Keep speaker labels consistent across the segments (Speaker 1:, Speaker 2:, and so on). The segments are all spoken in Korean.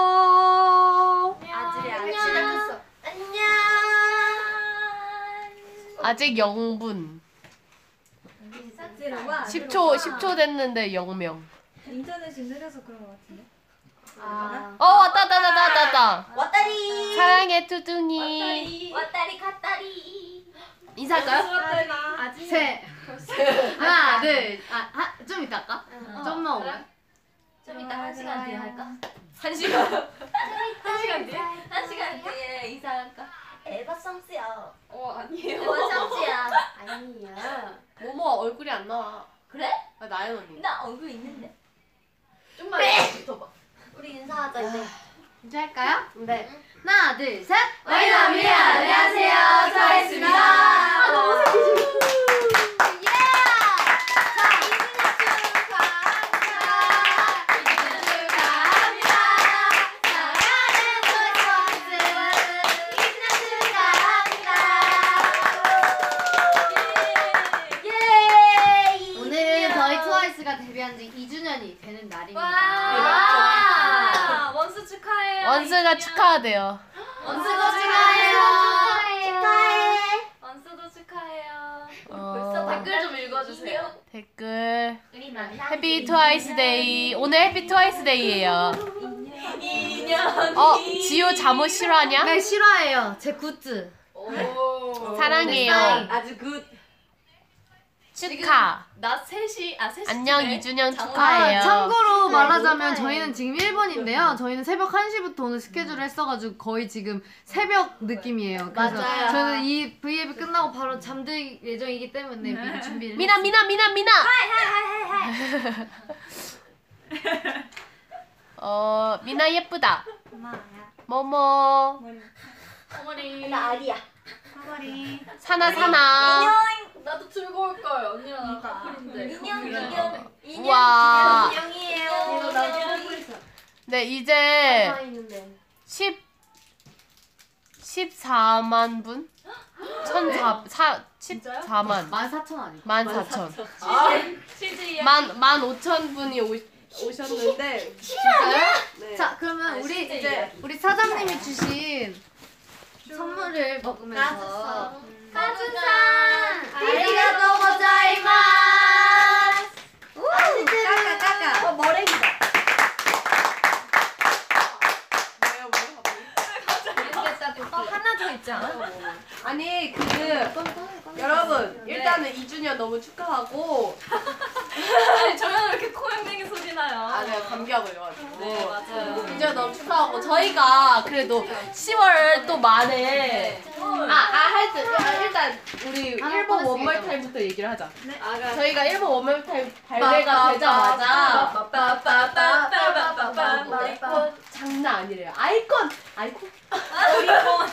Speaker 1: 안녕.
Speaker 2: 아직
Speaker 1: 안녕.
Speaker 2: 시작했어. 안녕.
Speaker 1: 아직 0분.
Speaker 2: 들어와.
Speaker 1: 10초 10초 됐는데 0명.
Speaker 3: 인터넷이 느려서 그런 것 같은데.
Speaker 2: 아.
Speaker 1: 어 왔다 왔다 왔다 왔다 왔다.
Speaker 2: 왔다리.
Speaker 1: 사랑해 투둥이.
Speaker 2: 왔다리 갔다리.
Speaker 1: 인사할까요?
Speaker 2: 아직.
Speaker 4: 셋. 하나, 둘. 아, 하, 좀 이따 할까?
Speaker 2: 어.
Speaker 4: 좀만 오면.
Speaker 2: 좀 이따 한 시간 뒤에 할까?
Speaker 1: 한 시간.
Speaker 2: 한 시간 뒤에? 한 시간 뒤에 인사할까? 에바 성스야.
Speaker 4: 어, 아니에요.
Speaker 2: 에바 성스야. 아니야.
Speaker 1: 모모 얼굴이 안 나와.
Speaker 2: 그래?
Speaker 1: 아, 나연 언니.
Speaker 2: 나 얼굴 있는데.
Speaker 4: 좀만 더 봐.
Speaker 2: 우리 인사하자 이제.
Speaker 4: 이제 할까요?
Speaker 1: 네.
Speaker 4: 하나, 둘, 셋.
Speaker 2: 와이나미, 안녕하세요. 저하입니다.
Speaker 4: 아, 너무 새- 오늘은 저희 트와이스가 데뷔한 지 2주년이 되는 날입니다.
Speaker 2: 아,
Speaker 1: 원스가 축하하대요.
Speaker 4: 원수도 축하해요.
Speaker 1: 어,
Speaker 2: 댓글 좀 읽어주세요.
Speaker 1: 댓글.
Speaker 2: 우리 남
Speaker 1: 해피 트와이스 데이. 오늘 해피 트와이스 데이예요.
Speaker 2: 인연.
Speaker 1: 어, 지효 잠옷 싫어하냐?
Speaker 4: 네, 실화예요. 제 굿즈.
Speaker 1: 사랑해요.
Speaker 4: 사인.
Speaker 2: 아주 굿.
Speaker 1: 축하.
Speaker 2: 나 3시 아 3시
Speaker 1: 안녕 2주년
Speaker 2: 장원.
Speaker 1: 축하해요.
Speaker 4: 아, 참고로
Speaker 2: 네,
Speaker 4: 말하자면
Speaker 2: 녹화해.
Speaker 4: 저희는 지금 1번인데요. 저희는 새벽 1시부터 오늘 스케줄을 했어가지고 거의 지금 새벽 느낌이에요. 그래서
Speaker 2: 맞아요.
Speaker 4: 저는 이 브이앱이 끝나고 바로 잠들 예정이기 때문에 미리 준비를
Speaker 1: 미나 미나 미나 미나. 어 미나 예쁘다.
Speaker 3: 고마워요.
Speaker 1: 뭐뭐
Speaker 3: 머리.
Speaker 2: 나 아리야
Speaker 3: 사거리.
Speaker 1: 사나 사나.
Speaker 2: 인형 나도 들고 올 걸 언니랑 나 커플인데 인형 인형 인형
Speaker 1: 우와.
Speaker 2: 인형이에요
Speaker 3: 이거 나도 뽑고 있어.
Speaker 1: 네 이제
Speaker 4: 있는데.
Speaker 1: 10 14만 분? 1,4 4 14만
Speaker 4: 14,000 아니고.
Speaker 1: 14,000.
Speaker 2: 치즈야
Speaker 1: 만 15,000분이 오, 오셨는데
Speaker 4: 네. 자, 그러면 우리 이제 우리 사장님이 주신 선물을 먹으면서
Speaker 2: 까준산
Speaker 4: 아리가또
Speaker 2: 고자이마스
Speaker 3: 까까 까까.
Speaker 2: 어 머랭이다
Speaker 3: 어, 하나 더 있지 않아?
Speaker 1: 아니 그 여러분 일단은 2주년 너무 축하하고
Speaker 2: 아니 저희는 왜 이렇게 코맹맹이 소리 나요
Speaker 1: 아 제가 감기가 걸려가지고
Speaker 3: 어,
Speaker 2: 네 맞아요
Speaker 1: 2주년 너무 축하하고 저희가 그래도 10월 또 말에
Speaker 2: 헐.
Speaker 1: 아아할때 일단 우리
Speaker 4: 하나
Speaker 1: 일본
Speaker 4: 꺼냈으니까.
Speaker 1: 원멀 타임부터 얘기를 하자
Speaker 2: 아가
Speaker 1: 저희가 일본 원멀 타임 발매가 되자마자 어,
Speaker 2: 빠빠빠빠빠빠빠빠빠
Speaker 1: 장난 아니래요 아이콘 아이콘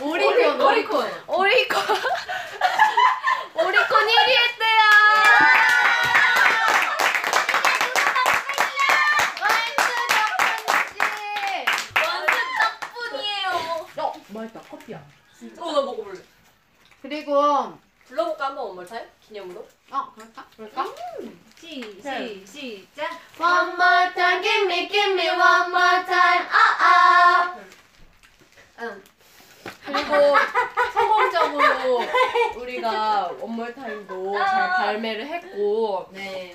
Speaker 1: 오리콘
Speaker 2: 오리콘.
Speaker 1: 오리콘 오리콘 오리콘 1위 했대요
Speaker 2: 완전 떡분이에요.
Speaker 1: 어 맛있다 커피야
Speaker 2: 어나 먹어볼래.
Speaker 4: 그리고 어,
Speaker 2: 불러볼까 한번 원몰타임 기념으로.
Speaker 4: 그럴까?
Speaker 1: 그럴까?
Speaker 3: 시시 시작.
Speaker 4: One more time, give me, give me one more time. 아, 아.
Speaker 1: 그리고 성공적으로 우리가 원몰타임도 잘
Speaker 4: 아.
Speaker 1: 발매를 했고
Speaker 2: 네.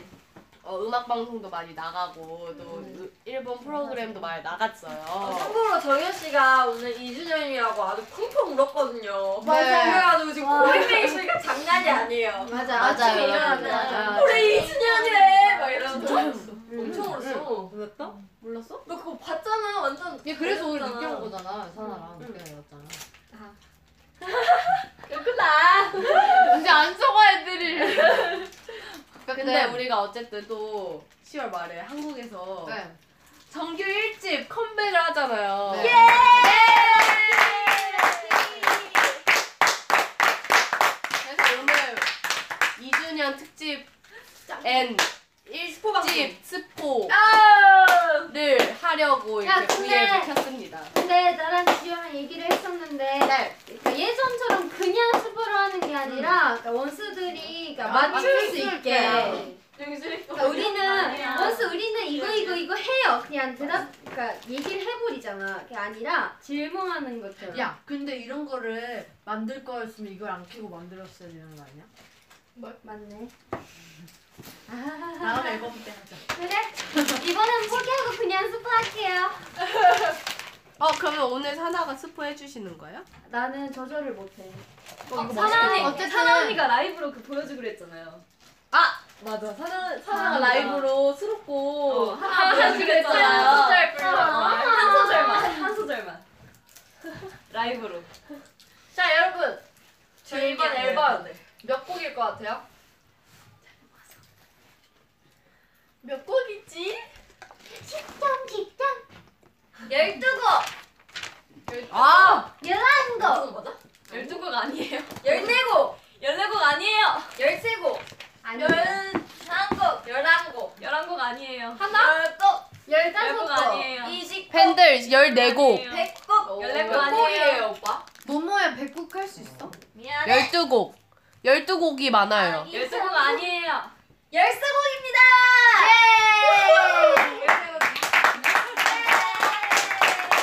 Speaker 1: 어, 음악 방송도 많이 나가고 또
Speaker 4: 음.
Speaker 1: 으- 일본 프로그램도 많이 나갔어요.
Speaker 2: 참고로 정현 씨가 오늘 2주년이라고 아주 쿵쿵 울었거든요.
Speaker 1: 맞아요.
Speaker 2: 그래가지고 지금 고객님 씨가 장난이 아니에요.
Speaker 4: 맞아,
Speaker 1: 맞아요,
Speaker 4: 아침에
Speaker 1: 여러분.
Speaker 4: 일어나면.
Speaker 2: 우리 2주년이래 막 이러면서 엄청 울었어.
Speaker 3: 울었다?
Speaker 1: 몰랐어?
Speaker 2: 너 그거 봤잖아 완전.
Speaker 4: 얘 그래서 우리 늦게
Speaker 2: 놀랐잖아.
Speaker 4: 온 거잖아, 사나랑 늦게 내렸잖아.
Speaker 2: 그렇구나.
Speaker 1: 이제 안 속아
Speaker 4: 네.
Speaker 1: 애들이. 근데,
Speaker 4: 그러니까 근데
Speaker 1: 우리가 어쨌든 또 10월 말에 한국에서
Speaker 4: 네.
Speaker 1: 정규 1집 컴백을 하잖아요.
Speaker 4: 네.
Speaker 1: 그래서 오늘 2주년 특집 앤 1집 스포를
Speaker 2: 아우.
Speaker 1: 하려고
Speaker 4: 야,
Speaker 1: 이렇게
Speaker 4: 근데-
Speaker 1: V앱을 켰습니다.
Speaker 5: 근데 네, 나랑 지효랑 얘기를 했었는데 그러니까 예전처럼 그냥 스포를 하는 게 아니라 그러니까 원수들이 그러니까
Speaker 3: 아,
Speaker 5: 맞출 수
Speaker 3: 맞출
Speaker 5: 있게
Speaker 3: 거야.
Speaker 5: 그러니까 우리는 원수 우리는 이거 이거 이거 해요 그냥 대답 그러니까 얘기를 해버리잖아. 그게 아니라 질문하는 것처럼.
Speaker 4: 야, 근데 이런 거를 만들 거였으면 이걸 안 켜고 만들었어야 되는 거 아니야?
Speaker 5: 맞네. 아.
Speaker 4: 다음 앨범 때 하자.
Speaker 5: 그래. 이번엔 포기하고 그냥 스포할게요.
Speaker 1: 어 그러면 오늘 사나가 스포 해주시는 거예요?
Speaker 5: 나는 조절을 못해.
Speaker 6: 사나이
Speaker 7: 어쨌든-
Speaker 6: 사나 언니가 라이브로 그 보여주기로 했잖아요.
Speaker 1: 아!
Speaker 6: 맞아 사나
Speaker 1: 사나가 라이브로 수록곡
Speaker 6: 어, 하나 그랬잖아요.
Speaker 1: 한
Speaker 6: 소절 불러봐. 한 소절만 한 소절만 라이브로.
Speaker 2: 자 여러분 저희 이번
Speaker 6: 재밌겠네요.
Speaker 2: 앨범 몇 곡일 것 같아요?
Speaker 6: 몇 곡이지?
Speaker 2: 12곡!
Speaker 1: 아!
Speaker 5: 11거!
Speaker 2: 맞아?
Speaker 6: 12곡 아니에요.
Speaker 2: 14곡!
Speaker 6: 14곡 아니에요.
Speaker 2: 13곡!
Speaker 5: 아니,
Speaker 2: 11곡! 11곡!
Speaker 6: 11곡 아니에요.
Speaker 2: 하나?
Speaker 6: 15곡
Speaker 2: 15곡!
Speaker 6: 아니에요.
Speaker 2: 20곡!
Speaker 1: 팬들 14곡,
Speaker 2: 100곡!
Speaker 6: 14곡
Speaker 2: 몇
Speaker 6: 아니에요.
Speaker 5: 예.
Speaker 2: 곡이에요 오빠?
Speaker 7: 모모야 백국 할 수 있어?
Speaker 2: 미안해
Speaker 1: 12곡. 12곡이 많아요.
Speaker 6: 12곡 아니에요.
Speaker 2: 13곡입니다! 예! 13곡!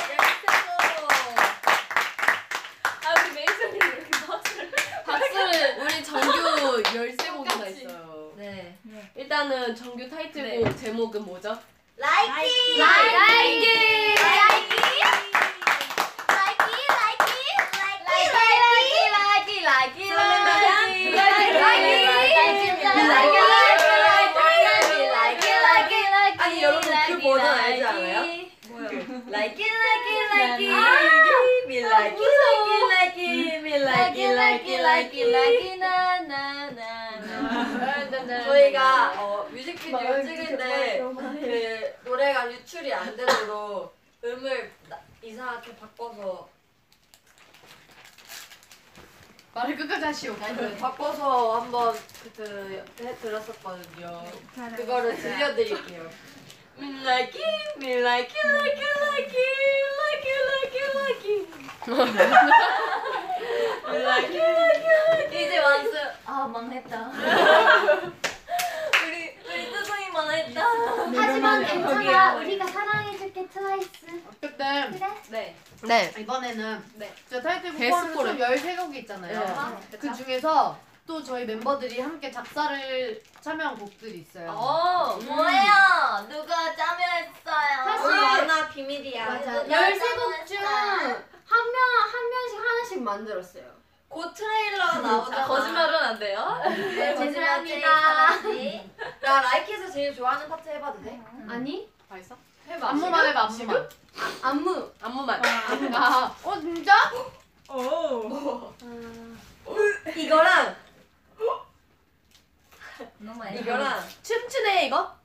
Speaker 6: 아 우리 메이슨이 이렇게 퍼즐을
Speaker 2: 네.
Speaker 1: 박수는 우리 정규 13곡이나 있어요.
Speaker 2: 네.
Speaker 1: 일단은 정규 타이틀곡 제목은 뭐죠?
Speaker 6: 라이키!
Speaker 2: 라이키! 라이키! 라이키! 라이키! 라이키! 라이키! 라이키! 라이키! 아니 여러분 그 버전 알지 않아요? Like it, like it, like it. Me like it, like it, like it. Me like it, like it, like it, like it. Na, na, na, na. 저희가 어, 뮤직비디오 찍을 때 그 노래가 유출이 안 되도록 음을 나- 이상하게 바꿔서
Speaker 4: 말을 끝까지 하시오.
Speaker 2: 그 바꿔서 한번 그때 해 들었었거든요. 그거를 들려드릴게요. Me like it, me like it, like it, like it, like it, like it, like it. Me like it, like it, like it. 이제 완전
Speaker 6: 아 망했다.
Speaker 2: 우리 우리 뜨송이만 했다.
Speaker 5: 하지만 괜찮아.
Speaker 6: 거기에요.
Speaker 5: 우리가 사랑해줄게, 트와이스.
Speaker 4: 그때
Speaker 5: 그래?
Speaker 2: 네.
Speaker 1: 네.
Speaker 4: 이번에는
Speaker 2: 네.
Speaker 4: 저 타이틀곡
Speaker 1: 베스트
Speaker 4: 포함해서 13곡이 있잖아요. 그 중에서 또 저희 멤버들이 함께 작사를 참여한 곡들이 있어요.
Speaker 6: 어.
Speaker 2: 뭐예요? 누가 참여했어요?
Speaker 5: 사실-
Speaker 2: 하나 아, 비밀이야.
Speaker 5: 맞아. 13곡 중 한 명, 한 명씩 하나씩 만들었어요.
Speaker 2: 곧 트레일러 나오잖아.
Speaker 6: 아, 거짓말은 안
Speaker 4: 아,
Speaker 6: 돼요.
Speaker 2: 네, 거짓말
Speaker 5: 죄송합니다.
Speaker 2: 제일 잘하지. 나 라이키에서 제일 좋아하는 파트 해봐도 돼?
Speaker 5: 아니?
Speaker 1: 다 있어?
Speaker 2: 해봐.
Speaker 4: 안무만 해봐, 안무만. 어,
Speaker 5: 안무.
Speaker 1: 안무만.
Speaker 4: 아, 어, 진짜?
Speaker 5: 아.
Speaker 2: 이거랑
Speaker 6: 너무 많이.
Speaker 2: 이거랑
Speaker 1: 춤추네 이거?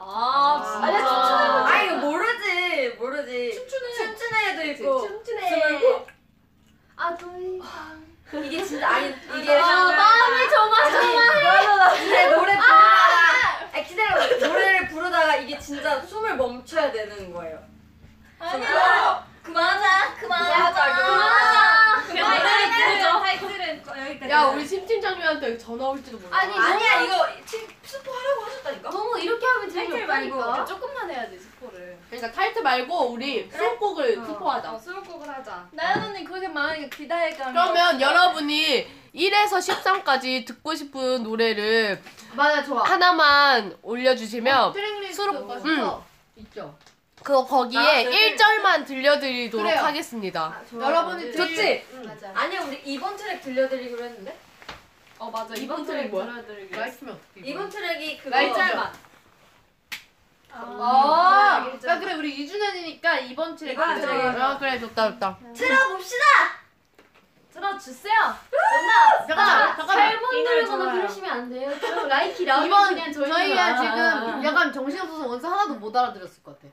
Speaker 6: 아
Speaker 2: 아니야 춤추는
Speaker 6: 진짜.
Speaker 2: 아 이거 모르지 모르지 춤추는 춤추네도 있고
Speaker 1: 춤추네.
Speaker 5: 아, 너희.
Speaker 2: 이게 진짜 아니 이게
Speaker 5: 아, 마음을 조마조마.
Speaker 2: 이게 노래 부르다가 아 기다려 노래를 부르다가 이게 진짜 숨을 멈춰야 되는 거예요 아니야
Speaker 6: 그만하자.
Speaker 2: 그만하자
Speaker 6: 그래 타이틀은 타이틀은 여기까지.
Speaker 1: 야 우리 심팀 장면한테 전화 올지도 몰라.
Speaker 5: 아니,
Speaker 2: 아니야 이거 지금 스포 하라고 하셨다니까
Speaker 5: 너무 이렇게 하면 재미
Speaker 6: 타이틀 말고
Speaker 5: 없다니까.
Speaker 6: 조금만 해야지 스포를.
Speaker 1: 그러니까 타이틀 말고 우리 수록곡을 스포하자.
Speaker 6: 어, 수록곡을 하자.
Speaker 2: 나연 언니 그렇게 많이 기다릴까
Speaker 1: 그러면 여러분이 1에서 13까지 듣고 싶은 노래를
Speaker 4: 맞아, 좋아.
Speaker 1: 하나만
Speaker 4: 어.
Speaker 1: 올려주시면
Speaker 4: 트랙리스트
Speaker 1: 수록- 음.
Speaker 4: 벌써 있죠.
Speaker 1: 그거 거기에
Speaker 2: 아, 네.
Speaker 1: 1절만 들려드리도록
Speaker 4: 그래요.
Speaker 1: 하겠습니다.
Speaker 4: 여러분이
Speaker 2: 좋지?
Speaker 5: 맞아.
Speaker 2: 음, 아니야 우리 이번 트랙 들려드리기로 했는데
Speaker 6: 어 맞아
Speaker 1: 이번
Speaker 6: 이번
Speaker 1: 트랙
Speaker 6: 트랙
Speaker 1: 뭐야?
Speaker 6: 들어드리기.
Speaker 4: 라이프면 어떻게.
Speaker 2: 이번 트랙이 그거
Speaker 6: 날짜만.
Speaker 4: 아,
Speaker 8: 어,
Speaker 6: 음,
Speaker 4: 야, 그래, 우리 2주년이니까 이번 트랙.
Speaker 2: 이번
Speaker 4: 들어요.
Speaker 2: 트랙.
Speaker 1: 아 그래 좋다 좋다.
Speaker 2: 틀어봅시다
Speaker 6: 들어주세요.
Speaker 2: 아,
Speaker 4: 잠깐만, 잠깐만.
Speaker 5: 잘못 누르거나 그러시면 안 돼요. 좀 라이키 나오면
Speaker 4: 이번
Speaker 5: 그냥
Speaker 4: 저희가
Speaker 5: 저희가
Speaker 4: 지금 약간 정신없어서 원서 하나도 못 알아들었을 것 같아.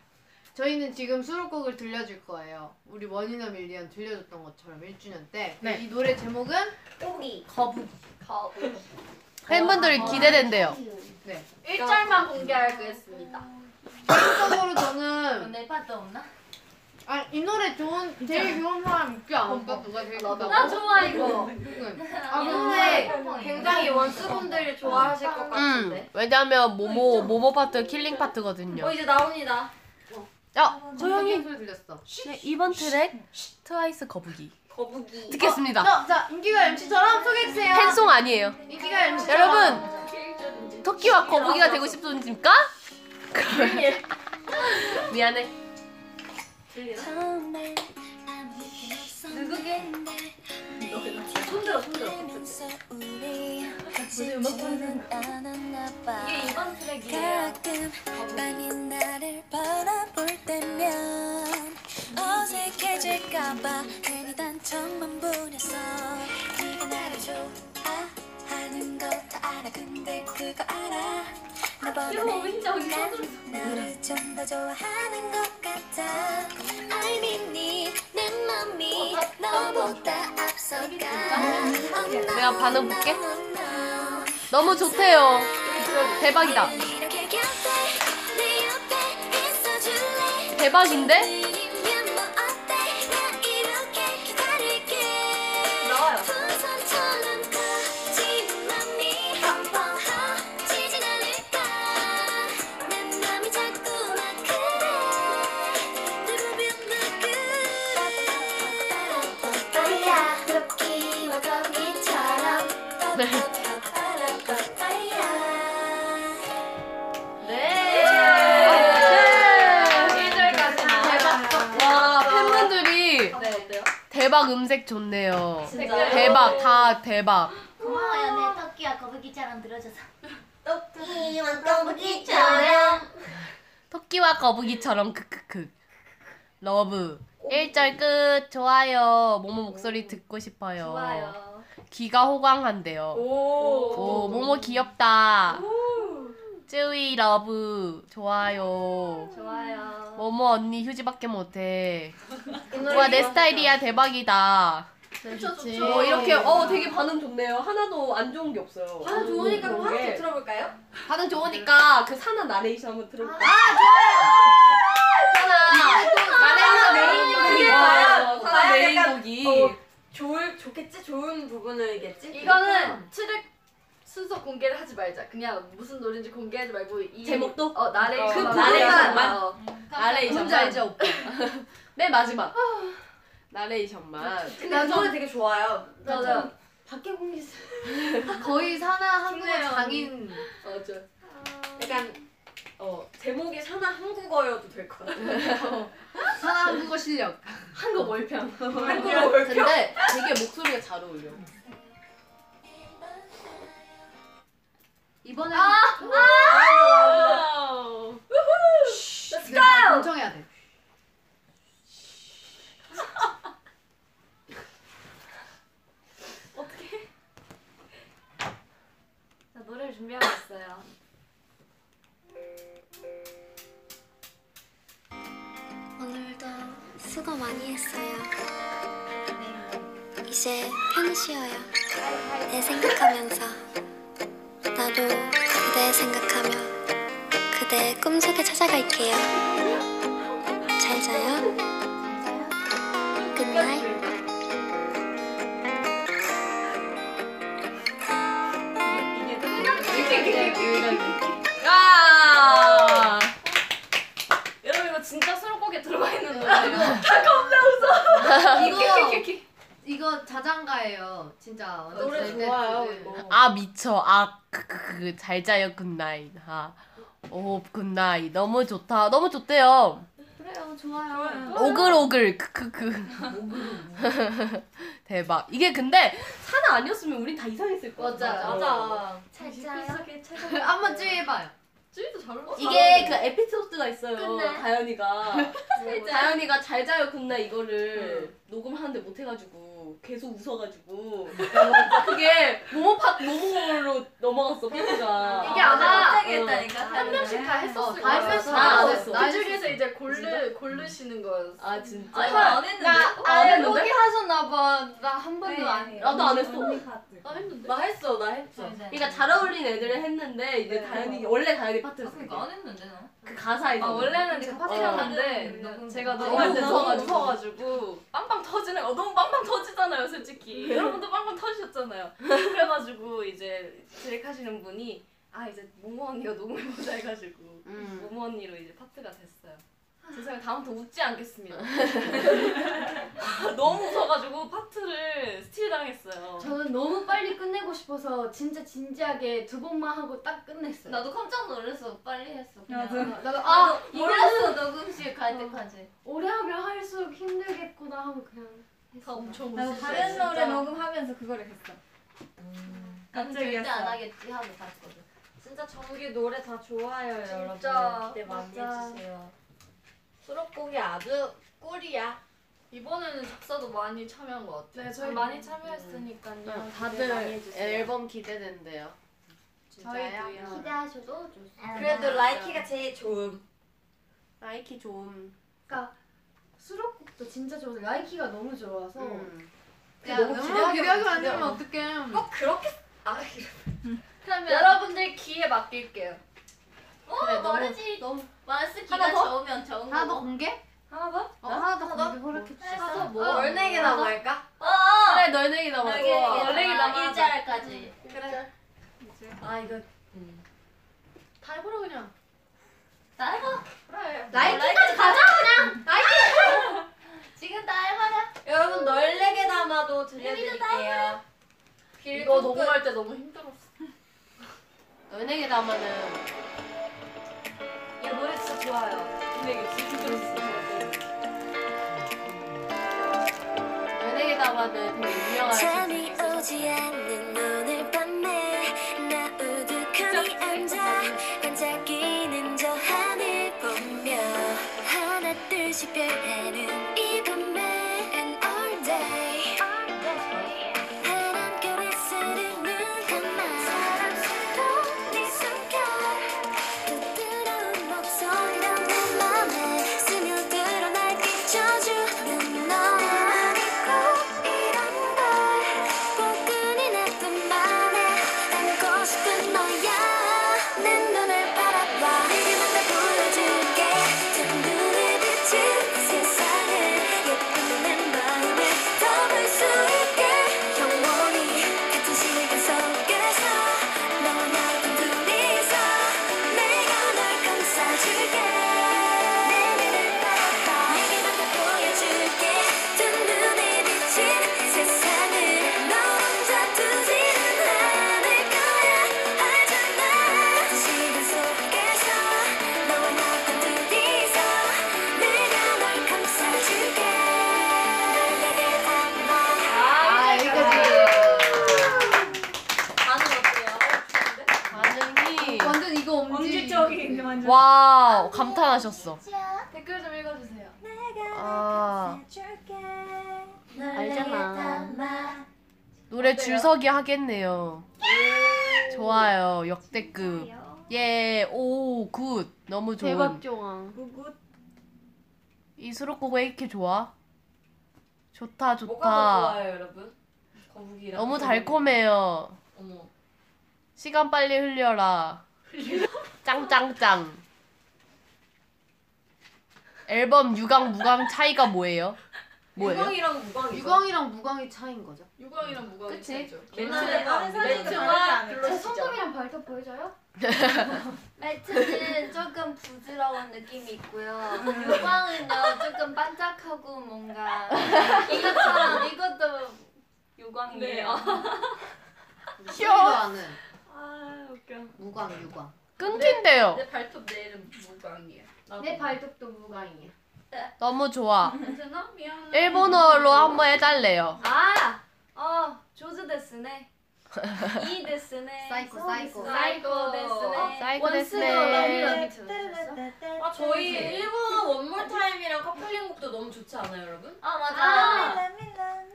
Speaker 4: 저희는 지금 수록곡을 들려줄 거예요. 우리 원이너 밀리언 들려줬던 것처럼 1주년 때.
Speaker 1: 네.
Speaker 4: 이 노래 제목은
Speaker 5: 여기.
Speaker 4: 거북.
Speaker 1: 팬분들이 기대된대요.
Speaker 4: 네.
Speaker 6: 1절만 공개할 거였습니다.
Speaker 4: 개인적으로 저는
Speaker 2: 아, 네.
Speaker 6: 오늘 파트 없나?
Speaker 4: 아, 이 노래 노래 좋은 제일 좋은 사람 웃겨 안 웃겨? 누가 제일 좋다고?
Speaker 5: 나 좋아 이거.
Speaker 4: 아 근데 굉장히 원수분들이 좋아하실 것
Speaker 1: 음, 왜냐면 모모 모모 파트 킬링 파트거든요.
Speaker 8: 어 이제 나옵니다.
Speaker 1: 야 조용히.
Speaker 4: 소리 들렸어.
Speaker 1: 네, 이번 트랙 트와이스 거북이
Speaker 8: 거북이. 어, 네.
Speaker 1: 듣겠습니다.
Speaker 4: 자, 자 인기가 MC처럼 소개해주세요.
Speaker 1: 팬송 아니에요.
Speaker 4: 인기가 MC.
Speaker 1: 여러분 토끼와 거북이가 되고 싶습니까? 미안해.
Speaker 8: 손들어 손들어. 이게 이번 트랙이에요.
Speaker 9: 가끔 빤히 나를 바라볼 때면 어색해질까봐 괜히 단점만 부렸어 네가 나를 좋아하는 거 다 알아 근데 그거 알아 나보다 난 너를 좀 더 좋아하는 것 같아 I mean 네내 맘이 너보다 앞서가
Speaker 1: 내가 반응 볼게.
Speaker 9: Oh, no, no, no.
Speaker 1: 너무 좋대요. 대박이다.
Speaker 9: 이렇게 곁에 네 옆에 있어줄래
Speaker 1: 대박인데?
Speaker 9: 이면 뭐 어때 나 이렇게 기다릴게
Speaker 8: 나와요.
Speaker 9: 풍선처럼 커진 맘이 한번 허지진 않을까 내 맘이 자꾸만 그래 늘 보면 나 그래 아야 토끼와 거미처럼 아야
Speaker 8: 예!
Speaker 1: 네.
Speaker 8: 1절까지 대박.
Speaker 1: 와 팬분들이
Speaker 8: 네 예! 어때요?
Speaker 1: 대박 음색 좋네요.
Speaker 8: 진짜요?
Speaker 1: 대박 다 대박.
Speaker 2: 고마워요 내 토끼와 거북이처럼 들어줘서
Speaker 8: 토끼와 거북이처럼.
Speaker 1: 토끼와 거북이처럼 크크크. 러브. 1절 끝. 좋아요. 모모 목소리 듣고 싶어요.
Speaker 8: 좋아요.
Speaker 1: 귀가 호강한대요.
Speaker 8: 오.
Speaker 1: 오, 모모 귀엽다. 쯔위 러브. 좋아요.
Speaker 8: 좋아요.
Speaker 1: 모모 언니 휴지밖에 못해. 우와, 내 스타일이야. 대박이다.
Speaker 5: 네,
Speaker 4: 좋지.
Speaker 1: 어, 이렇게, 어, 되게 반응 좋네요. 하나도 안 좋은 게 없어요.
Speaker 8: 반응 좋으니까 그럼 하나 더 들어볼까요?
Speaker 1: 반응 좋으니까 그 사나 나레이션 한번 들어볼까요?
Speaker 8: 아, 메인곡이 과연
Speaker 1: 아, 사나
Speaker 8: 과연
Speaker 1: 메인
Speaker 8: 약간
Speaker 1: 곡이.
Speaker 8: 좋을 좋겠지 좋은 부분이겠지?
Speaker 3: 이거는 트랙 순서 공개를 하지 말자. 그냥 무슨 노래인지 공개하지 말고 이
Speaker 1: 제목도?
Speaker 3: 어 나레이션
Speaker 8: 그 부분만.
Speaker 3: 나레이션만 어.
Speaker 1: 나레이션만.
Speaker 3: 뭔지 알죠? 오빠?
Speaker 1: 맨 마지막. 나레이션만.
Speaker 8: 근데 그 노래 되게 좋아요.
Speaker 3: 맞아.
Speaker 8: 밖에 공개
Speaker 4: 거의 사나 한국어 장인.
Speaker 8: 어, 저 약간 어 제목이 사나 한국어여도 될 것 같아요.
Speaker 4: 사나 한국어 실력.
Speaker 8: 한국 월평. 한국어 월평.
Speaker 1: 근데 되게 목소리가 잘 어울려.
Speaker 4: 이번에
Speaker 8: Let's
Speaker 4: 공청해야 네, 돼.
Speaker 8: 어떻게? 자 노래를 준비하고 있어요.
Speaker 9: 오늘도 수고 많이 했어요. 이제 편히 쉬어요. 내 생각하면서 나도 그대 생각하며 그대 꿈속에 찾아갈게요. 잘 자요. 굿나잇.
Speaker 1: 아!
Speaker 8: 여러분 이거 진짜 수록곡에 들어가 있는 노래예요.
Speaker 4: 이거 이거 자장가예요. 진짜 완전
Speaker 8: 어, 노래
Speaker 4: 잘 돼.
Speaker 8: 좋아요,
Speaker 3: 그
Speaker 4: 네.
Speaker 8: 이거.
Speaker 1: 아 미쳐 아그잘 자요 굿나잇 아오 굿나잇 너무 좋다 너무 좋대요
Speaker 4: 그래요, 좋아요.
Speaker 1: 오글오글 크크크 대박 이게 근데 사나 아니었으면 우린 다 이상했을 거야
Speaker 4: 맞아.
Speaker 8: 맞아.
Speaker 2: 잘 자요
Speaker 4: 한번 찌해봐요.
Speaker 8: 쭈이도 잘 올라.
Speaker 1: 이게 그 에피소드가 있어요
Speaker 2: 굿나잇.
Speaker 1: 다현이가
Speaker 2: 잘 자요
Speaker 1: 다현이가 잘 자요 굿나잇 이거를 녹음하는데 못 해가지고 계속 웃어가지고 그게 모모 파 모모로 넘어갔어 파트가
Speaker 8: 그 이게 아마 갑자기 했다니까. 한 명씩 다
Speaker 4: 어,
Speaker 8: 했었을
Speaker 4: 다
Speaker 8: 거예요. 네.
Speaker 4: 했었어.
Speaker 1: 아,
Speaker 4: 다
Speaker 1: 어,
Speaker 4: 했어.
Speaker 1: 했어.
Speaker 3: 그 중에서 이제 고르 고르시는 거였어.
Speaker 1: 아 진짜.
Speaker 8: 아니 나안 했는데?
Speaker 1: 안
Speaker 4: 아예
Speaker 1: 했는데?
Speaker 4: 포기하셨나봐. 나 한
Speaker 10: 네.
Speaker 5: 네.
Speaker 4: 번도 안 네.
Speaker 8: 아니,
Speaker 1: 나도 안 했어.
Speaker 3: 나 했는데.
Speaker 1: 나 했어, 나 했어.
Speaker 8: 진짜.
Speaker 1: 그러니까 잘 어울리는 애들을 했는데 이제
Speaker 8: 네.
Speaker 1: 다현이 원래 다현이 파트였어.
Speaker 8: 그러니까 안 했는데 나.
Speaker 1: 그 가사에서.
Speaker 3: 아 원래는 제가
Speaker 2: 어.
Speaker 3: 파트였는데
Speaker 8: 다른
Speaker 3: 제가
Speaker 8: 너무
Speaker 3: 너무 할 때 너무
Speaker 1: 무서워가지고.
Speaker 3: 무서워가지고 빵빵 터지는 거 어, 너무 빵빵 터지잖아요 솔직히 여러분도 빵빵 터지셨잖아요 그래가지고 이제 기획하시는 분이 아 이제 모모 언니가 녹음해보자 해가지고 모모 언니로 이제 파트가 됐어요 죄송해요 다음부터 웃지 않겠습니다 너무 웃어가지고 파트를 스틸 당했어요
Speaker 5: 저는 너무 빨리 끝내고 싶어서 진짜 진지하게 두 번만 하고 딱 끝냈어요.
Speaker 8: 나도 깜짝 놀랐어. 빨리 했어. 그냥.
Speaker 5: 나도 아
Speaker 8: 아 몰랐어 녹음실 갈 때까지.
Speaker 5: 오래 하면 할수록 힘들겠구나 하고 그냥
Speaker 3: 다 엄청
Speaker 11: 나도 다른 노래 녹음하면서 그거를 했어.
Speaker 8: 난
Speaker 11: 갑자기
Speaker 8: 음, 절대
Speaker 11: 했어.
Speaker 8: 안 하겠지 하고 갔거든.
Speaker 2: 진짜 정규 노래 다 좋아요
Speaker 8: 진짜,
Speaker 2: 여러분 기대 많이
Speaker 8: 맞아.
Speaker 2: 해주세요 수록곡이 아주 꿀이야
Speaker 3: 이번에는 작사도 많이 참여한 것 같아요 네 저희 네, 많이
Speaker 2: 아,
Speaker 3: 참여했으니까요
Speaker 2: 네,
Speaker 4: 다들 앨범 기대된대요.
Speaker 3: 예, 저희도요. 네,
Speaker 5: 기대하셔도 좋습니다.
Speaker 2: 그래도 라이키가 제일 좋음
Speaker 4: 나이키 좀.
Speaker 5: 수록곡도 진짜 좋아서 라이키가 너무 좋아서
Speaker 4: 음.
Speaker 10: 야 너무 기대하지 말면
Speaker 4: 기대하면
Speaker 10: 어떡해.
Speaker 2: 꼭 그렇게 아
Speaker 3: 그러면 여러분들 귀에 맡길게요
Speaker 8: 어
Speaker 4: 그래, 너무-
Speaker 8: 말하지. 마스
Speaker 4: 하나
Speaker 8: 기가
Speaker 4: 더?
Speaker 8: 좋으면 좋은
Speaker 10: 하나 더
Speaker 8: 거.
Speaker 10: 공개?
Speaker 2: 하나 더?
Speaker 10: 어, 하나 더 공개 허락해 주세요. 네.
Speaker 8: 하나 더.
Speaker 3: 아,
Speaker 8: 뭐?
Speaker 2: 얼내기 나할까
Speaker 8: 어.
Speaker 3: 그래 널랭이 남았어
Speaker 8: 여기 여기
Speaker 3: 널랭이
Speaker 8: 남아.
Speaker 3: 남았어
Speaker 8: 일자까지.
Speaker 2: 그래 아 이거 음.
Speaker 4: 다 해보라 그냥.
Speaker 8: 나 해봐.
Speaker 2: 그래
Speaker 8: 라이트까지 가자 그냥. 라이트. 지금 나 해봐라.
Speaker 2: 여러분 널레게 담아도 들려드릴게요
Speaker 3: 이거
Speaker 2: 길고 끝
Speaker 3: 녹음할 때 너무 힘들었어
Speaker 4: 연예계 담아는
Speaker 2: 이 노래 진짜 좋아요
Speaker 4: 연예계 담아는 되게 유명한.
Speaker 9: 잠이 오지 않는 오늘 밤에 나 우두커니 앉아 반짝이는 저 하늘 보며 하나 둘씩 변하는 이 밤에 and all day 파란 겨울 쓰는 눈 감아 또네 손가락 부드러운 목소리로 내 맘에 스며들어 날 비춰주는 너야 꼭 이런 걸 복근이 났던 맘에 안고 싶은 너야 내 눈을 바라봐 내게만 다 보여줄게 저 눈에 비친 세상을 예쁜 내 마음을 담을 수 있게 영원히 같은 시간 속에서 너와 나 둘이서 내가 널 감싸줄게 내 눈을 바라봐 내게만 다 보여줄게 두 눈에 비친 세상을 너 혼자 두지는 않을 거야 알잖아 같은 시간 속에서 너와 나 둘이서 내가 널 감싸줄게 널 내게 담아
Speaker 4: 아 여기까지.
Speaker 2: 반응 어때요?
Speaker 4: 반응이
Speaker 10: 완전 이거 엄지.
Speaker 11: 원주적인 완전.
Speaker 8: 와 감탄하셨어.
Speaker 9: er
Speaker 3: 댓글 좀 읽어주세요
Speaker 8: 아
Speaker 9: 알잖아.
Speaker 8: 노래 줄서기 하겠네요. 좋아요 역대급. 예, 예오굿 너무 좋은.
Speaker 10: 대박 조항.
Speaker 8: 이 수록곡 왜 이렇게 좋아?
Speaker 2: 뭐가
Speaker 8: 좋다
Speaker 2: 더
Speaker 8: 좋다.
Speaker 2: 좋아요 여러분? 거북이랑
Speaker 8: 너무 달콤해요.
Speaker 2: 어머
Speaker 8: 시간 빨리 흘려라. 짱짱짱. 앨범 유광 무광 차이가 뭐예요? 뭐예요?
Speaker 2: 유광이랑 무광이
Speaker 10: 유광이랑 무광이 차인 거죠.
Speaker 3: 유광이랑 무광이
Speaker 10: 그치?
Speaker 3: 차이죠.
Speaker 2: 옛날에 다른 아, 사진이
Speaker 3: 멘트와
Speaker 5: 제
Speaker 3: 글로시죠.
Speaker 5: 손톱이랑 발톱 보여줘요?
Speaker 8: 매트는 조금 부드러운 느낌이 있고요. 요광은요 조금 반짝하고 뭔가 이것처럼 이것도 요광이에요. 어,
Speaker 10: 귀여워. 않은
Speaker 2: 아 웃겨
Speaker 10: 무광 유광.
Speaker 8: 끊긴대요.
Speaker 3: 내 발톱 내일은 무광이야.
Speaker 5: 내 발톱도 무광이에요.
Speaker 8: 너무 좋아.
Speaker 3: 괜찮아? 미안해.
Speaker 8: 일본어로 한번 해달래요.
Speaker 2: 아! 어 조즈 데스네 이 데스네
Speaker 10: 사이코 사이코.
Speaker 3: 사이코 어, 데스네.
Speaker 8: 사이코
Speaker 2: 어,
Speaker 3: 원스러워.
Speaker 8: 데스네.
Speaker 2: 아 저희 일본어 원몰 타임이랑 커플링 곡도 너무 좋지 않아요 여러분?
Speaker 8: 아 맞아.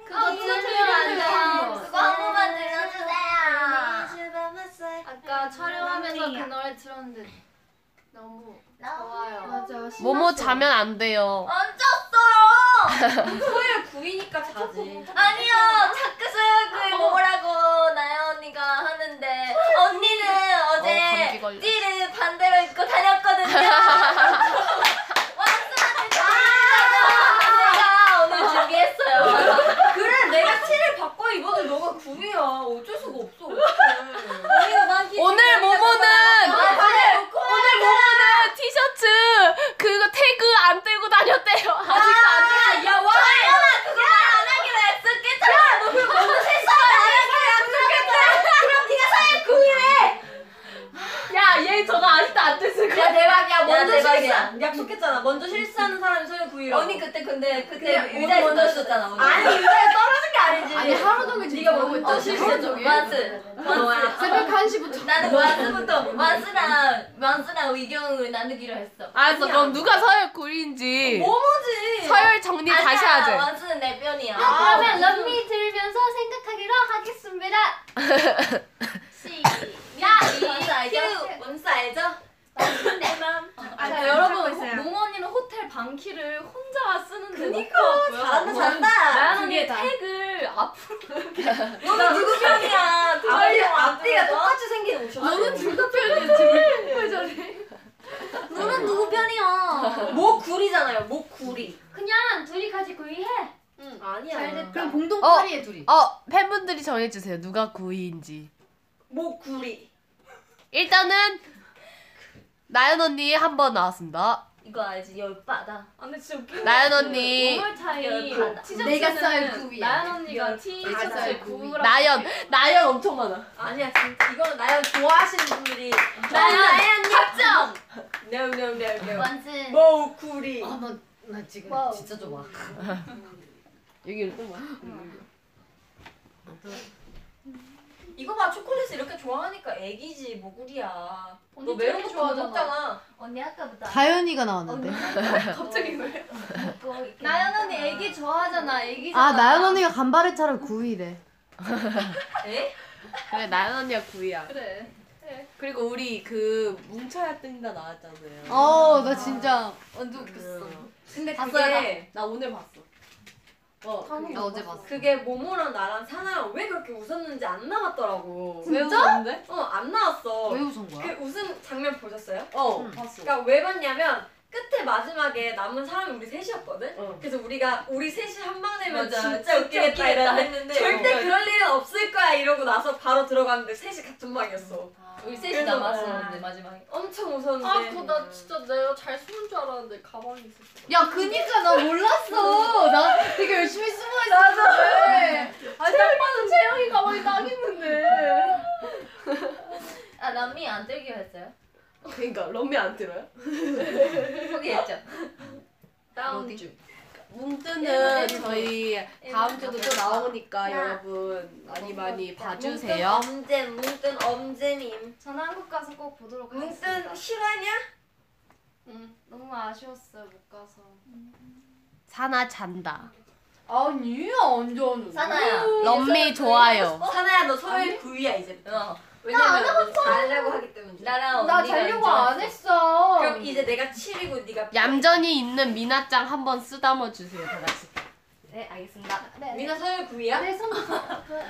Speaker 2: 그거 틀면 안돼
Speaker 8: 그거 한 번만 들려주세요.
Speaker 10: 아, 네.
Speaker 3: 아까 촬영하면서 그 노래 틀었는데 너무
Speaker 8: 좋아요.
Speaker 5: 맞아.
Speaker 1: 모모 자면 안 돼요.
Speaker 8: 안 잤어요.
Speaker 2: 토요일
Speaker 3: 아,
Speaker 2: 9이니까 자지.
Speaker 8: 아니요, 자크소요구의 뭐라고 나야 언니가 하는데 언니는 어제
Speaker 1: 감기 걸렸어.
Speaker 8: 네. 띠를 반대로 입고 다녔거든요. 완전히 다. 아, 내가 오늘 준비했어요.
Speaker 2: 그래 내가 티를 바꿔 입어도 너가 9이야. 어쩔 수가 없어. 아니야 난 티.
Speaker 1: 오늘 모모는
Speaker 8: 맞아요.
Speaker 1: 오늘 모모는 티셔츠 그거 태그 안 떼고 다녔대요. 아직도 안 떼고.
Speaker 8: 야, 와! 야, 그걸 안 하기로 했었겠잖아. 야, 너 그거 무슨 실수를 안 하기로 했었겠다. 그럼 네가 사회 공유해.
Speaker 12: 야, 얘 저거 아직도 안 됐을 거야.
Speaker 2: 야 대박이야. 먼저
Speaker 8: 대박이야. 음.
Speaker 2: 실수. 약속했잖아. 먼저 실수하는 사람이 토요일 9일.
Speaker 8: 언니 그때 근데 그때
Speaker 2: 그냥
Speaker 8: 의자에
Speaker 2: 먼저
Speaker 8: 떨어졌잖아. 오늘.
Speaker 2: 아니 의자에 떨어진 게 아니지.
Speaker 4: 아니 하루 종일
Speaker 2: 네가 먼저
Speaker 8: 어, 실수 좀. 완스. 완스.
Speaker 4: 새벽 1시부터
Speaker 8: 나는 완스부터 완스랑 완스랑 의견을 나누기로 했어.
Speaker 1: 알았어. 그럼 누가 서열 9위인지
Speaker 2: 모모지.
Speaker 1: 서열 정리
Speaker 8: 어, 아니야,
Speaker 1: 다시 하자.
Speaker 8: 완스는 내 편이야.
Speaker 5: 아, 그러면 런미 들으면서 생각하기로 하겠습니다. 시작.
Speaker 8: 야, 이 원스 알죠? 원스 알죠?
Speaker 5: 내 맘.
Speaker 12: 자, 아, 여러분, 모모 언니는 호텔 방키를 혼자 쓰는데.
Speaker 8: 그니까 잘한다 잘한다.
Speaker 12: 나연 언니 택을 앞으로.
Speaker 8: 너는 누구 편이야?
Speaker 2: 앞뒤,
Speaker 8: 가
Speaker 2: 앞뒤가 똑같이 생긴 옷이야.
Speaker 12: 어? 너는 둘다 표현해. 지금 왜 저래?
Speaker 8: 너는 누구 편이야?
Speaker 2: 목구리잖아요. 목구리.
Speaker 5: 그냥 둘이 같이
Speaker 2: 네.
Speaker 5: 구이해. 네.
Speaker 2: 아니야.
Speaker 5: 잘 됐다.
Speaker 4: 그럼 공동
Speaker 1: 어.
Speaker 4: 파리에 둘이
Speaker 1: 어 팬분들이 정해주세요. 누가 9위인지.
Speaker 12: 아,
Speaker 2: 목구리.
Speaker 1: 일단은 나연 언니 한 번 나왔습니다.
Speaker 8: 이거 알지? 열받아.
Speaker 12: 아, 근데 진짜 웃긴
Speaker 1: 나연
Speaker 2: 네.
Speaker 1: 언니,
Speaker 12: 오월타임
Speaker 8: 열받아.
Speaker 4: 내가 쌓을
Speaker 12: 티셔츠는
Speaker 4: 구위야.
Speaker 12: 나연 언니가
Speaker 4: 쌓을
Speaker 12: 티셔츠에
Speaker 4: 구위.
Speaker 12: 구랑
Speaker 1: 나연, 나연 엄청 많아.
Speaker 2: 아니야 진짜 이거는 나연 좋아하시는 분들이
Speaker 8: 나연 합정.
Speaker 2: 네네네네.
Speaker 8: 완전.
Speaker 2: 뭐 목구리.
Speaker 4: 아나나 지금 진짜 좋아
Speaker 1: 여기를 또 봐.
Speaker 2: 이거 봐 초콜릿을 이렇게 좋아하니까 애기지 뭐 모구리야. 너
Speaker 12: 언니
Speaker 2: 매운
Speaker 12: 되게
Speaker 2: 거 좋아하잖아. 먹잖아.
Speaker 8: 언니 아까보다.
Speaker 13: 다현이가 나왔는데.
Speaker 8: 갑자기 왜? 나연 언니 애기 좋아하잖아. 애기잖아.
Speaker 13: 아 나연 언니가 간발의 차를 9위래.
Speaker 2: 에?
Speaker 1: 그래 나연 언니가 9위야.
Speaker 12: 그래.
Speaker 14: 그리고 우리 그 뭉쳐야 뜬다 나왔잖아요.
Speaker 13: 어나 진짜
Speaker 14: 완전 웃겼어.
Speaker 2: 근데
Speaker 14: 봤어요?
Speaker 2: 그게
Speaker 14: 나 오늘 봤어. 어.
Speaker 13: 나
Speaker 5: 아,
Speaker 13: 어제 봤어.
Speaker 2: 그게 모모랑 나랑 사나랑 왜 그렇게 웃었는지 안 나왔더라고.
Speaker 14: 왜 웃었는데?
Speaker 2: 어안 나왔어.
Speaker 13: 왜 웃은 거야?
Speaker 2: 그 웃음 장면 보셨어요?
Speaker 14: 어 봤어.
Speaker 2: 그러니까 왜 봤냐면 끝에 마지막에 남은 사람이 우리 셋이었거든.
Speaker 14: 어.
Speaker 2: 그래서 우리가 우리 셋이 한 방 내면
Speaker 8: 맞아.
Speaker 2: 진짜 웃기겠다
Speaker 8: 웃기겠다
Speaker 2: 이랬는데
Speaker 8: 했는데
Speaker 2: 절대 그럴 일은 없을 거야 이러고 나서 바로 들어갔는데 셋이 같은 방이었어.
Speaker 8: 우리 뭐 셋이 남았었는데
Speaker 14: 아.
Speaker 8: 마지막에.
Speaker 2: 엄청 웃었는데.
Speaker 12: 아, 그거 나 진짜 내가 잘 숨은 줄 알았는데 가만히 있었어.
Speaker 4: 야 그니까 나 몰랐어 나 되게 열심히 숨어 있었는데
Speaker 12: 아니, 딱 봐도 채영이 가만히 딱 있는데.
Speaker 8: 아 남미 안 들기로 했어요?
Speaker 14: 그러니까 럼미 안 들어요?
Speaker 8: 포기했죠.
Speaker 12: 다운 중.
Speaker 14: 뭉뜨는 저희 다음 주도 또 나오니까 여러분 많이 많이 봐주세요.
Speaker 2: 네.
Speaker 8: 엄잼 뭉뜬 엄잼임.
Speaker 5: 저는 한국 가서 꼭 보도록 하겠습니다.
Speaker 2: 뭉뜬 실화냐?
Speaker 5: 응. 너무 아쉬웠어요 못 가서.
Speaker 1: 사나 잔다.
Speaker 4: 아니야 완전
Speaker 8: 사나야.
Speaker 2: 네,
Speaker 1: 럼미 좋아요.
Speaker 2: 사나야 너 서열 9위야 이제.
Speaker 8: 어.
Speaker 2: 왜냐면 잘려고 하기 때문에.
Speaker 8: 나랑
Speaker 4: 나
Speaker 8: 언니가
Speaker 4: 자려고
Speaker 8: 인정했어.
Speaker 4: 안 했어
Speaker 2: 그럼 이제 내가 7이고 네가
Speaker 1: 얌전히 있는 미나짱 한 번 쓰다듬어 주세요 다 같이.
Speaker 8: 네 알겠습니다.
Speaker 5: 네.
Speaker 2: 민아 서열 9위야?
Speaker 5: 내 손도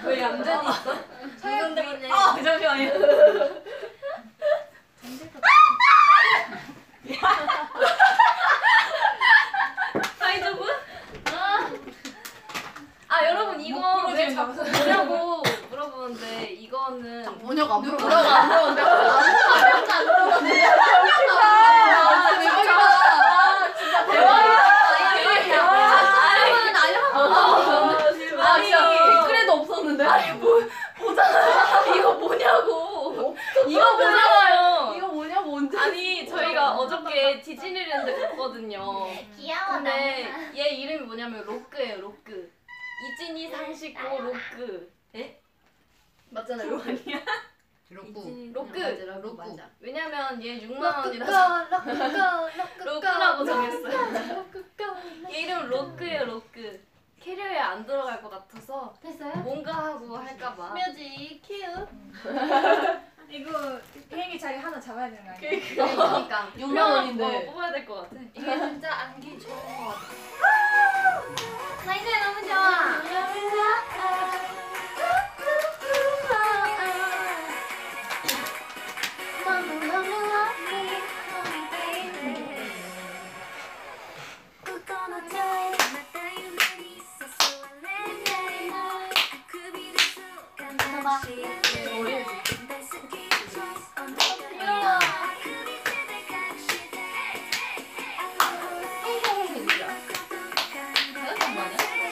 Speaker 2: 왜 얌전히 있어?
Speaker 8: 아, 서열 구인의
Speaker 2: 아 잠시만요.
Speaker 8: 사이즈분? 아 여러분 이거
Speaker 2: 부러지게
Speaker 8: 왜 자꾸 뭐냐고 물어보는데 이거는
Speaker 4: 번역 안 물어봐 안 물어봐 안 물어봐
Speaker 8: 아니 댓글에
Speaker 12: 댓글에도 없었는데. 아니,
Speaker 8: 이거 뭐냐고
Speaker 12: 이거 보잖아요.
Speaker 14: 이거 뭐냐 뭔지.
Speaker 12: 아니 저희가 어저께 디즈니랜드 갔거든요.
Speaker 5: 귀여워
Speaker 12: 근데
Speaker 5: 나.
Speaker 12: 얘 이름이 뭐냐면 로크예요 로크. 이진이 상식고 로크. 에? 맞잖아 로크 아니야?
Speaker 4: 이러고 아,
Speaker 12: 로크.
Speaker 4: 로꾸.
Speaker 12: 왜냐면 얘 6만 원이라서
Speaker 5: 럭끄꺼
Speaker 12: 로크라고 정했어요. 얘 이름 로크예요 로크. 캐리어에 안 들어갈 것 같아서
Speaker 5: 됐어요?
Speaker 12: 뭔가 하고 할까봐.
Speaker 5: 뮤직 큐.
Speaker 15: 이거 비행기 자리 하나 잡아야
Speaker 5: 뽑아야 되는 거 아니야?
Speaker 2: 그러니까
Speaker 16: 6만
Speaker 2: 어,
Speaker 16: 원인데
Speaker 2: 뽑아야 될 것 같아.
Speaker 17: 이게 진짜 안기 좋은 것 같아.
Speaker 4: 사이다 너무 좋아.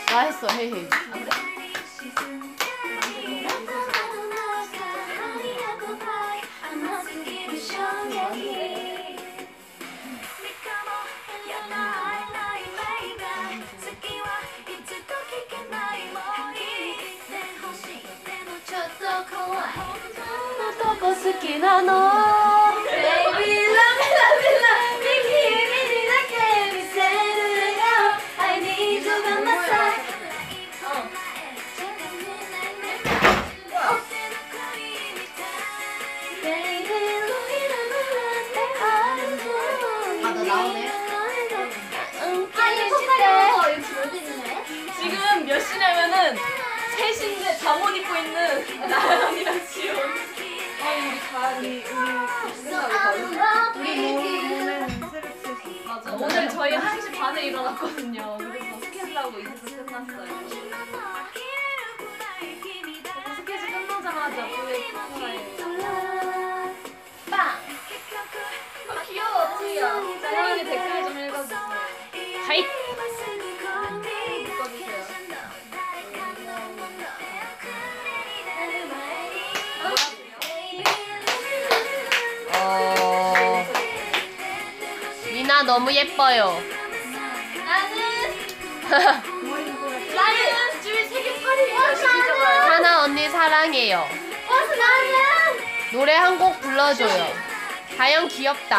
Speaker 9: 나 했어 헤헤
Speaker 2: 네
Speaker 4: 아, 아니 폭발이 이거 줄되
Speaker 9: 어, 아, 아나 나오네 어,
Speaker 4: 네
Speaker 2: 지금 몇 시냐면은 셋인데 잠옷 입고 있는 나연이랑 지호. 어,
Speaker 9: 뭐
Speaker 5: 우리 몸에는 새벽 3시.
Speaker 2: 맞아. 오늘 저희 1시 반에 일어났거든요. 그래서 스케줄하고 이제서 끝났어요. 스케줄 끝나자마자 그 우리 통화해.
Speaker 9: 아,
Speaker 18: 아, 귀여워, 지야.
Speaker 2: 사랑하는 댓글 좀 읽어주세요.
Speaker 18: 하이.
Speaker 1: 어... 미나 너무 예뻐요.
Speaker 4: 나는 줄 세계 8위야.
Speaker 1: 하나 언니 사랑해요.
Speaker 4: 버스 나는
Speaker 1: 노래 한 곡 불러줘요. 다영 귀엽다.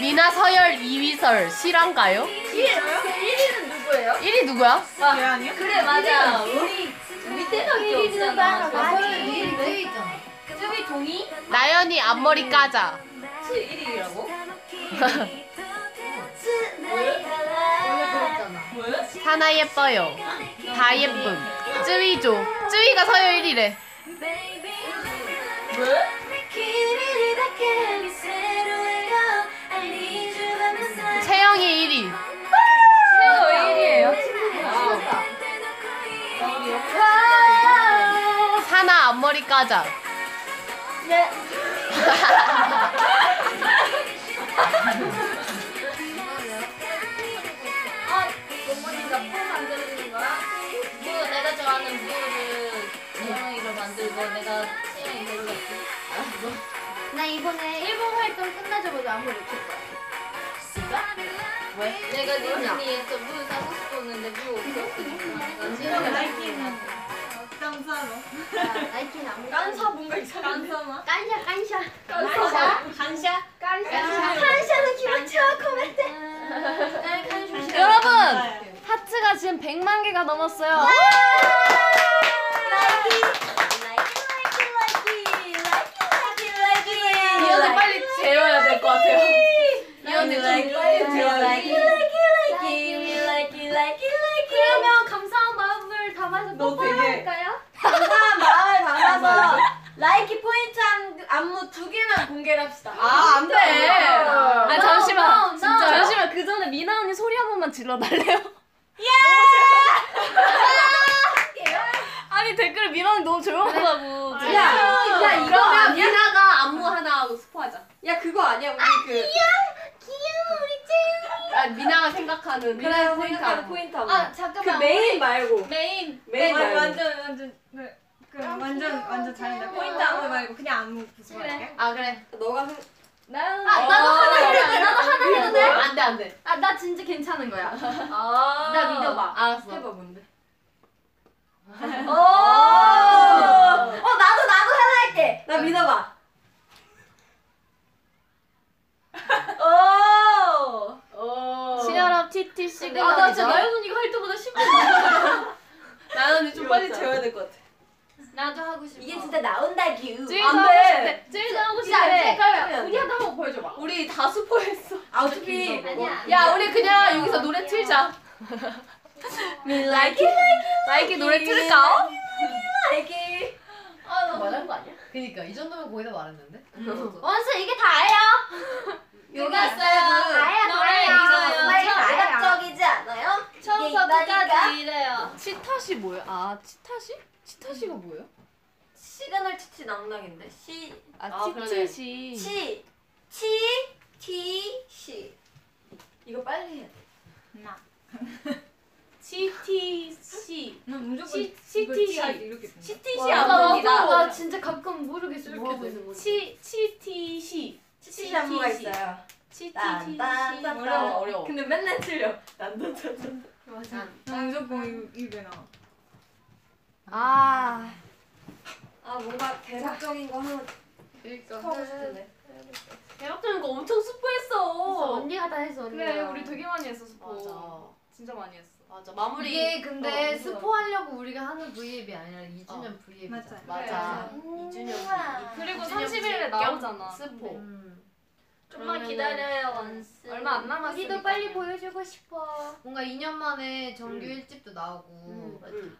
Speaker 1: 미나 서열 2위설 실한가요?
Speaker 4: 1위는 누구예요?
Speaker 1: 1위 누구야?
Speaker 5: 왜 아니야?
Speaker 2: 그래 맞아.
Speaker 4: 우리 때밖에 없잖아. 아니, 저기 동이?
Speaker 1: 나연이 앞머리 까자.
Speaker 4: 1위라고?
Speaker 1: 하나 예뻐요. 다 예쁨. 쯔위조. 쯔위가 서열 1위래. 채영이 1위.
Speaker 4: 아.
Speaker 2: 왜
Speaker 1: 하나 앞머리 까자.
Speaker 17: 어머니가 폼 만들어주는 거야? 무 내가 좋아하는 무를 모양이로 만들고 내가 찌는 이걸로
Speaker 4: 나 이번에 일본 활동 끝나자마자 안무를 출 거야.
Speaker 17: 내가 디즈니에서 무 사고 싶었는데 무
Speaker 4: 음.
Speaker 17: 없었으니까 내가
Speaker 9: 음.
Speaker 17: 찌는
Speaker 5: 나이키는 깜사로.
Speaker 4: 나 나이키는 안무. 깐샤
Speaker 2: 뭔가 이상한데.
Speaker 5: 깜사마?
Speaker 4: 깐샤 깐샤.
Speaker 17: 간샤?
Speaker 4: 깐샤는 기분 좋아 코멘트.
Speaker 1: 여러분! 하트가 지금 100만 개가 넘었어요.
Speaker 2: 이 언니 빨리 재워야 될 것 같아요. 이 언니 좀 빨리 재워야 돼.
Speaker 4: 그러면 감사한 마음을 담아서
Speaker 5: 너 되게-
Speaker 4: 뽀뽀할까요?
Speaker 17: 라이키 포인트 안- 안무 두 개만 공개를 합시다.
Speaker 2: 아안 돼. 아 잠시만.
Speaker 4: 나, 나.
Speaker 2: 잠시만 그 전에 미나 언니 소리 한 번만 질러달래요. 아니 댓글에 미나 언니 너무 조용하다고.
Speaker 17: 야, 야 이거 아니야?
Speaker 2: 미나가 안무 하나 하고 스포하자.
Speaker 17: 야 그거 아니야 우리 그
Speaker 2: 아, 미나가 생각하는 미나가
Speaker 17: 생각하는
Speaker 2: 생각하는
Speaker 17: 포인트 안무.
Speaker 4: 아 잠깐만.
Speaker 17: 메인 말고.
Speaker 4: 메인.
Speaker 17: 메인
Speaker 5: 완-
Speaker 17: 말고.
Speaker 5: 완전 완전 네, 그 완전 완전
Speaker 4: 어,
Speaker 5: 잘한다. 포인트 안무 말고 그냥 안무 보여줄게.
Speaker 2: 아 그래.
Speaker 17: 너가 생-
Speaker 4: 아 나도 하나 해도 돼. 나도 하나 해도 돼.
Speaker 2: 안돼 안돼.
Speaker 4: 아 나 진짜 괜찮은 거야.
Speaker 17: 아.
Speaker 4: 나 믿어봐.
Speaker 2: 알았어.
Speaker 17: 해봐 뭔데?
Speaker 4: 오. 어 나도 나도 하나 할게.
Speaker 17: 나 믿어봐.
Speaker 2: 어.
Speaker 1: 신혈업 TT 시그널이죠.
Speaker 4: 아나 진짜 나연 언니가 할 때보다 쉽게.
Speaker 2: 나연 언니 좀 빨리 재워야 될 것 같아.
Speaker 8: 나도 하고 싶어.
Speaker 5: 이게 진짜 나온다 규.
Speaker 1: 제일
Speaker 19: 안
Speaker 1: 나 하고
Speaker 19: 돼.
Speaker 1: 싶대. 제일 나 하고
Speaker 19: 야,
Speaker 1: 싶대.
Speaker 19: 색깔 우리 하나 한번 보여줘봐. 우리 다 스포했어.
Speaker 5: 아 어차피
Speaker 8: 아니야.
Speaker 1: 야 우리 그냥 여기서 노래 틀자.
Speaker 5: Me like it
Speaker 1: 나이키 노래 틀까?
Speaker 5: like it.
Speaker 2: 아, 말한 거 아니야?
Speaker 4: 그니까 그러니까 이 정도면 거의 다 말했는데.
Speaker 8: 원수 이게 다예요.
Speaker 5: 여기
Speaker 8: 다예요,
Speaker 1: 어?
Speaker 8: 다예요.
Speaker 5: 정말 가격적이지 않아요? 이게 있다니까.
Speaker 8: 처음서부터까지 이래요.
Speaker 1: 치타시 뭐야? 아 치타시? 치타시가 뭐예요?
Speaker 5: 시그널 치치 낭낭인데 시.
Speaker 1: 아 치치시.
Speaker 5: 치, 치, 티, 시. 이거 빨리 해야 돼.
Speaker 1: 치티시.
Speaker 9: 난 무조건
Speaker 1: 치-
Speaker 9: 이거
Speaker 1: 치티시.
Speaker 9: 치아 이렇게 보내.
Speaker 1: 치티시
Speaker 8: 나,
Speaker 4: 어,
Speaker 8: 나,
Speaker 1: 안무입니다.
Speaker 8: 나 진짜 가끔 모르겠어
Speaker 4: 뭐
Speaker 8: 이렇게 되는 거지.
Speaker 1: 치 치티시.
Speaker 5: 치치 안무가
Speaker 1: 치티시.
Speaker 5: 있어요.
Speaker 1: 치티시.
Speaker 5: 딴딴딴
Speaker 19: 어려워, 어려워.
Speaker 5: 근데 맨날 틀려. 딴딴딴.
Speaker 9: 맞아. 난 무조건 이거 이게 나.
Speaker 20: 아
Speaker 5: 아 뭔가 대략적인 거 하나
Speaker 1: 그러니까.
Speaker 5: 하고 싶은데.
Speaker 19: 대박적인 거 엄청 스포했어.
Speaker 8: 언니가 다 해서 언니가.
Speaker 1: 그래 우리 되게 많이 했어 스포.
Speaker 4: 맞아.
Speaker 1: 진짜 많이 했어.
Speaker 4: 맞아. 마무리. 이게 근데
Speaker 1: 어,
Speaker 4: 스포하려고 우리가 하는 V앱이 아니라 2주년 V앱.
Speaker 9: 맞아.
Speaker 4: 어, 맞아.
Speaker 5: 우와.
Speaker 1: 그리고 30일에
Speaker 2: 네.
Speaker 1: 나오잖아. 스포.
Speaker 4: 음.
Speaker 2: 좀만 기다려요, 원스.
Speaker 1: 얼마 안 남았으니까.
Speaker 8: 우리도 빨리 보여주고 싶어.
Speaker 4: 뭔가 2년 만에 정규 일 1집도 나오고
Speaker 19: 음.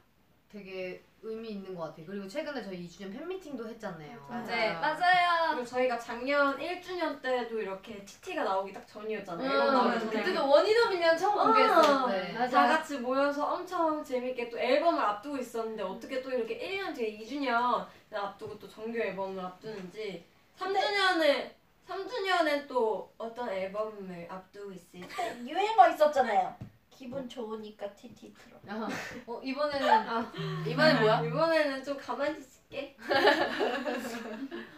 Speaker 4: 되게 의미 있는 것 같아. 그리고 최근에 저희 2주년 팬미팅도 했잖아요.
Speaker 5: 네,
Speaker 2: 맞아요.
Speaker 5: 그리고 저희가 작년 1주년 때도 이렇게 치티가 나오기 딱
Speaker 1: 음.
Speaker 5: 전이었잖아요.
Speaker 4: 음.
Speaker 5: 앨범 나오기 전에.
Speaker 4: 그때도 원인원 밀년 처음
Speaker 1: 어.
Speaker 4: 공개했었는데.
Speaker 5: 아, 다 같이 모여서 엄청 재밌게 또 앨범을 앞두고 있었는데 어떻게 또 이렇게 1년 뒤에 2주년 앞두고 또 정규 앨범을 앞두는지 3주년에 3주년엔 또 어떤 앨범을 앞두고 있을지
Speaker 2: 유행어 있었잖아요. 기분 좋으니까 티티 틀어.
Speaker 4: 어, 이번에는
Speaker 1: 네. 이번엔 뭐야?
Speaker 2: 네.
Speaker 5: 이번에는 좀 가만히 있을게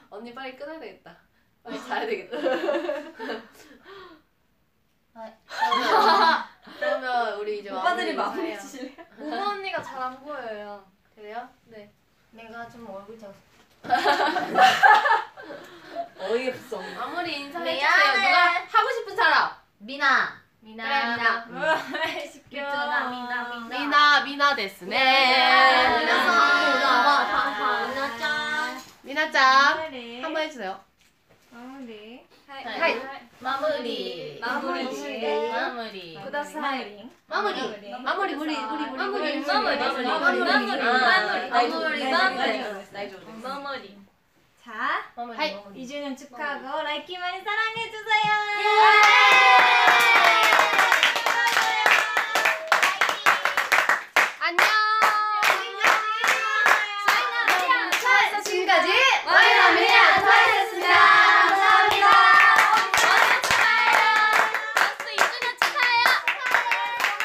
Speaker 1: 언니 빨리 끊어야 되겠다. 빨리 자야 되겠다. 그러면 우리 이제
Speaker 5: 오빠들이 마무리해
Speaker 1: 해요.
Speaker 5: 주실래요?
Speaker 1: 우마 언니가 잘 안 보여요. 그래요? 네.
Speaker 2: 내가 좀 얼굴 작아.
Speaker 5: 어이없어
Speaker 1: 마무리 인사해 주세요.
Speaker 2: 미안해.
Speaker 1: 누가 하고 싶은 사람?
Speaker 4: 미나.
Speaker 2: 미나 미나 미나 미나 미나
Speaker 1: 미나 데스네.
Speaker 2: 미나 짠
Speaker 1: 미나 짱.
Speaker 9: 마무리.
Speaker 1: 한번 해주세요.
Speaker 9: 마무리.
Speaker 1: 하이.
Speaker 2: 마무리
Speaker 1: 마무리.
Speaker 2: 마무리
Speaker 9: 스마일링.
Speaker 2: 마무리
Speaker 1: 마무리 우리 우리 우리
Speaker 2: 마무리,
Speaker 1: 우리
Speaker 2: 마무리,
Speaker 1: 우리,
Speaker 2: 마무리,
Speaker 1: 우리,
Speaker 2: 마무리,
Speaker 1: 우리.
Speaker 2: 마무리,
Speaker 1: 아,
Speaker 2: 마무리,
Speaker 1: 나이 좋네.
Speaker 2: 마무리.
Speaker 1: 나이 좋네.
Speaker 2: 마무리
Speaker 9: 자,
Speaker 2: 하이
Speaker 9: 2주년 축하하고 라이키 많이 사랑해 주세요.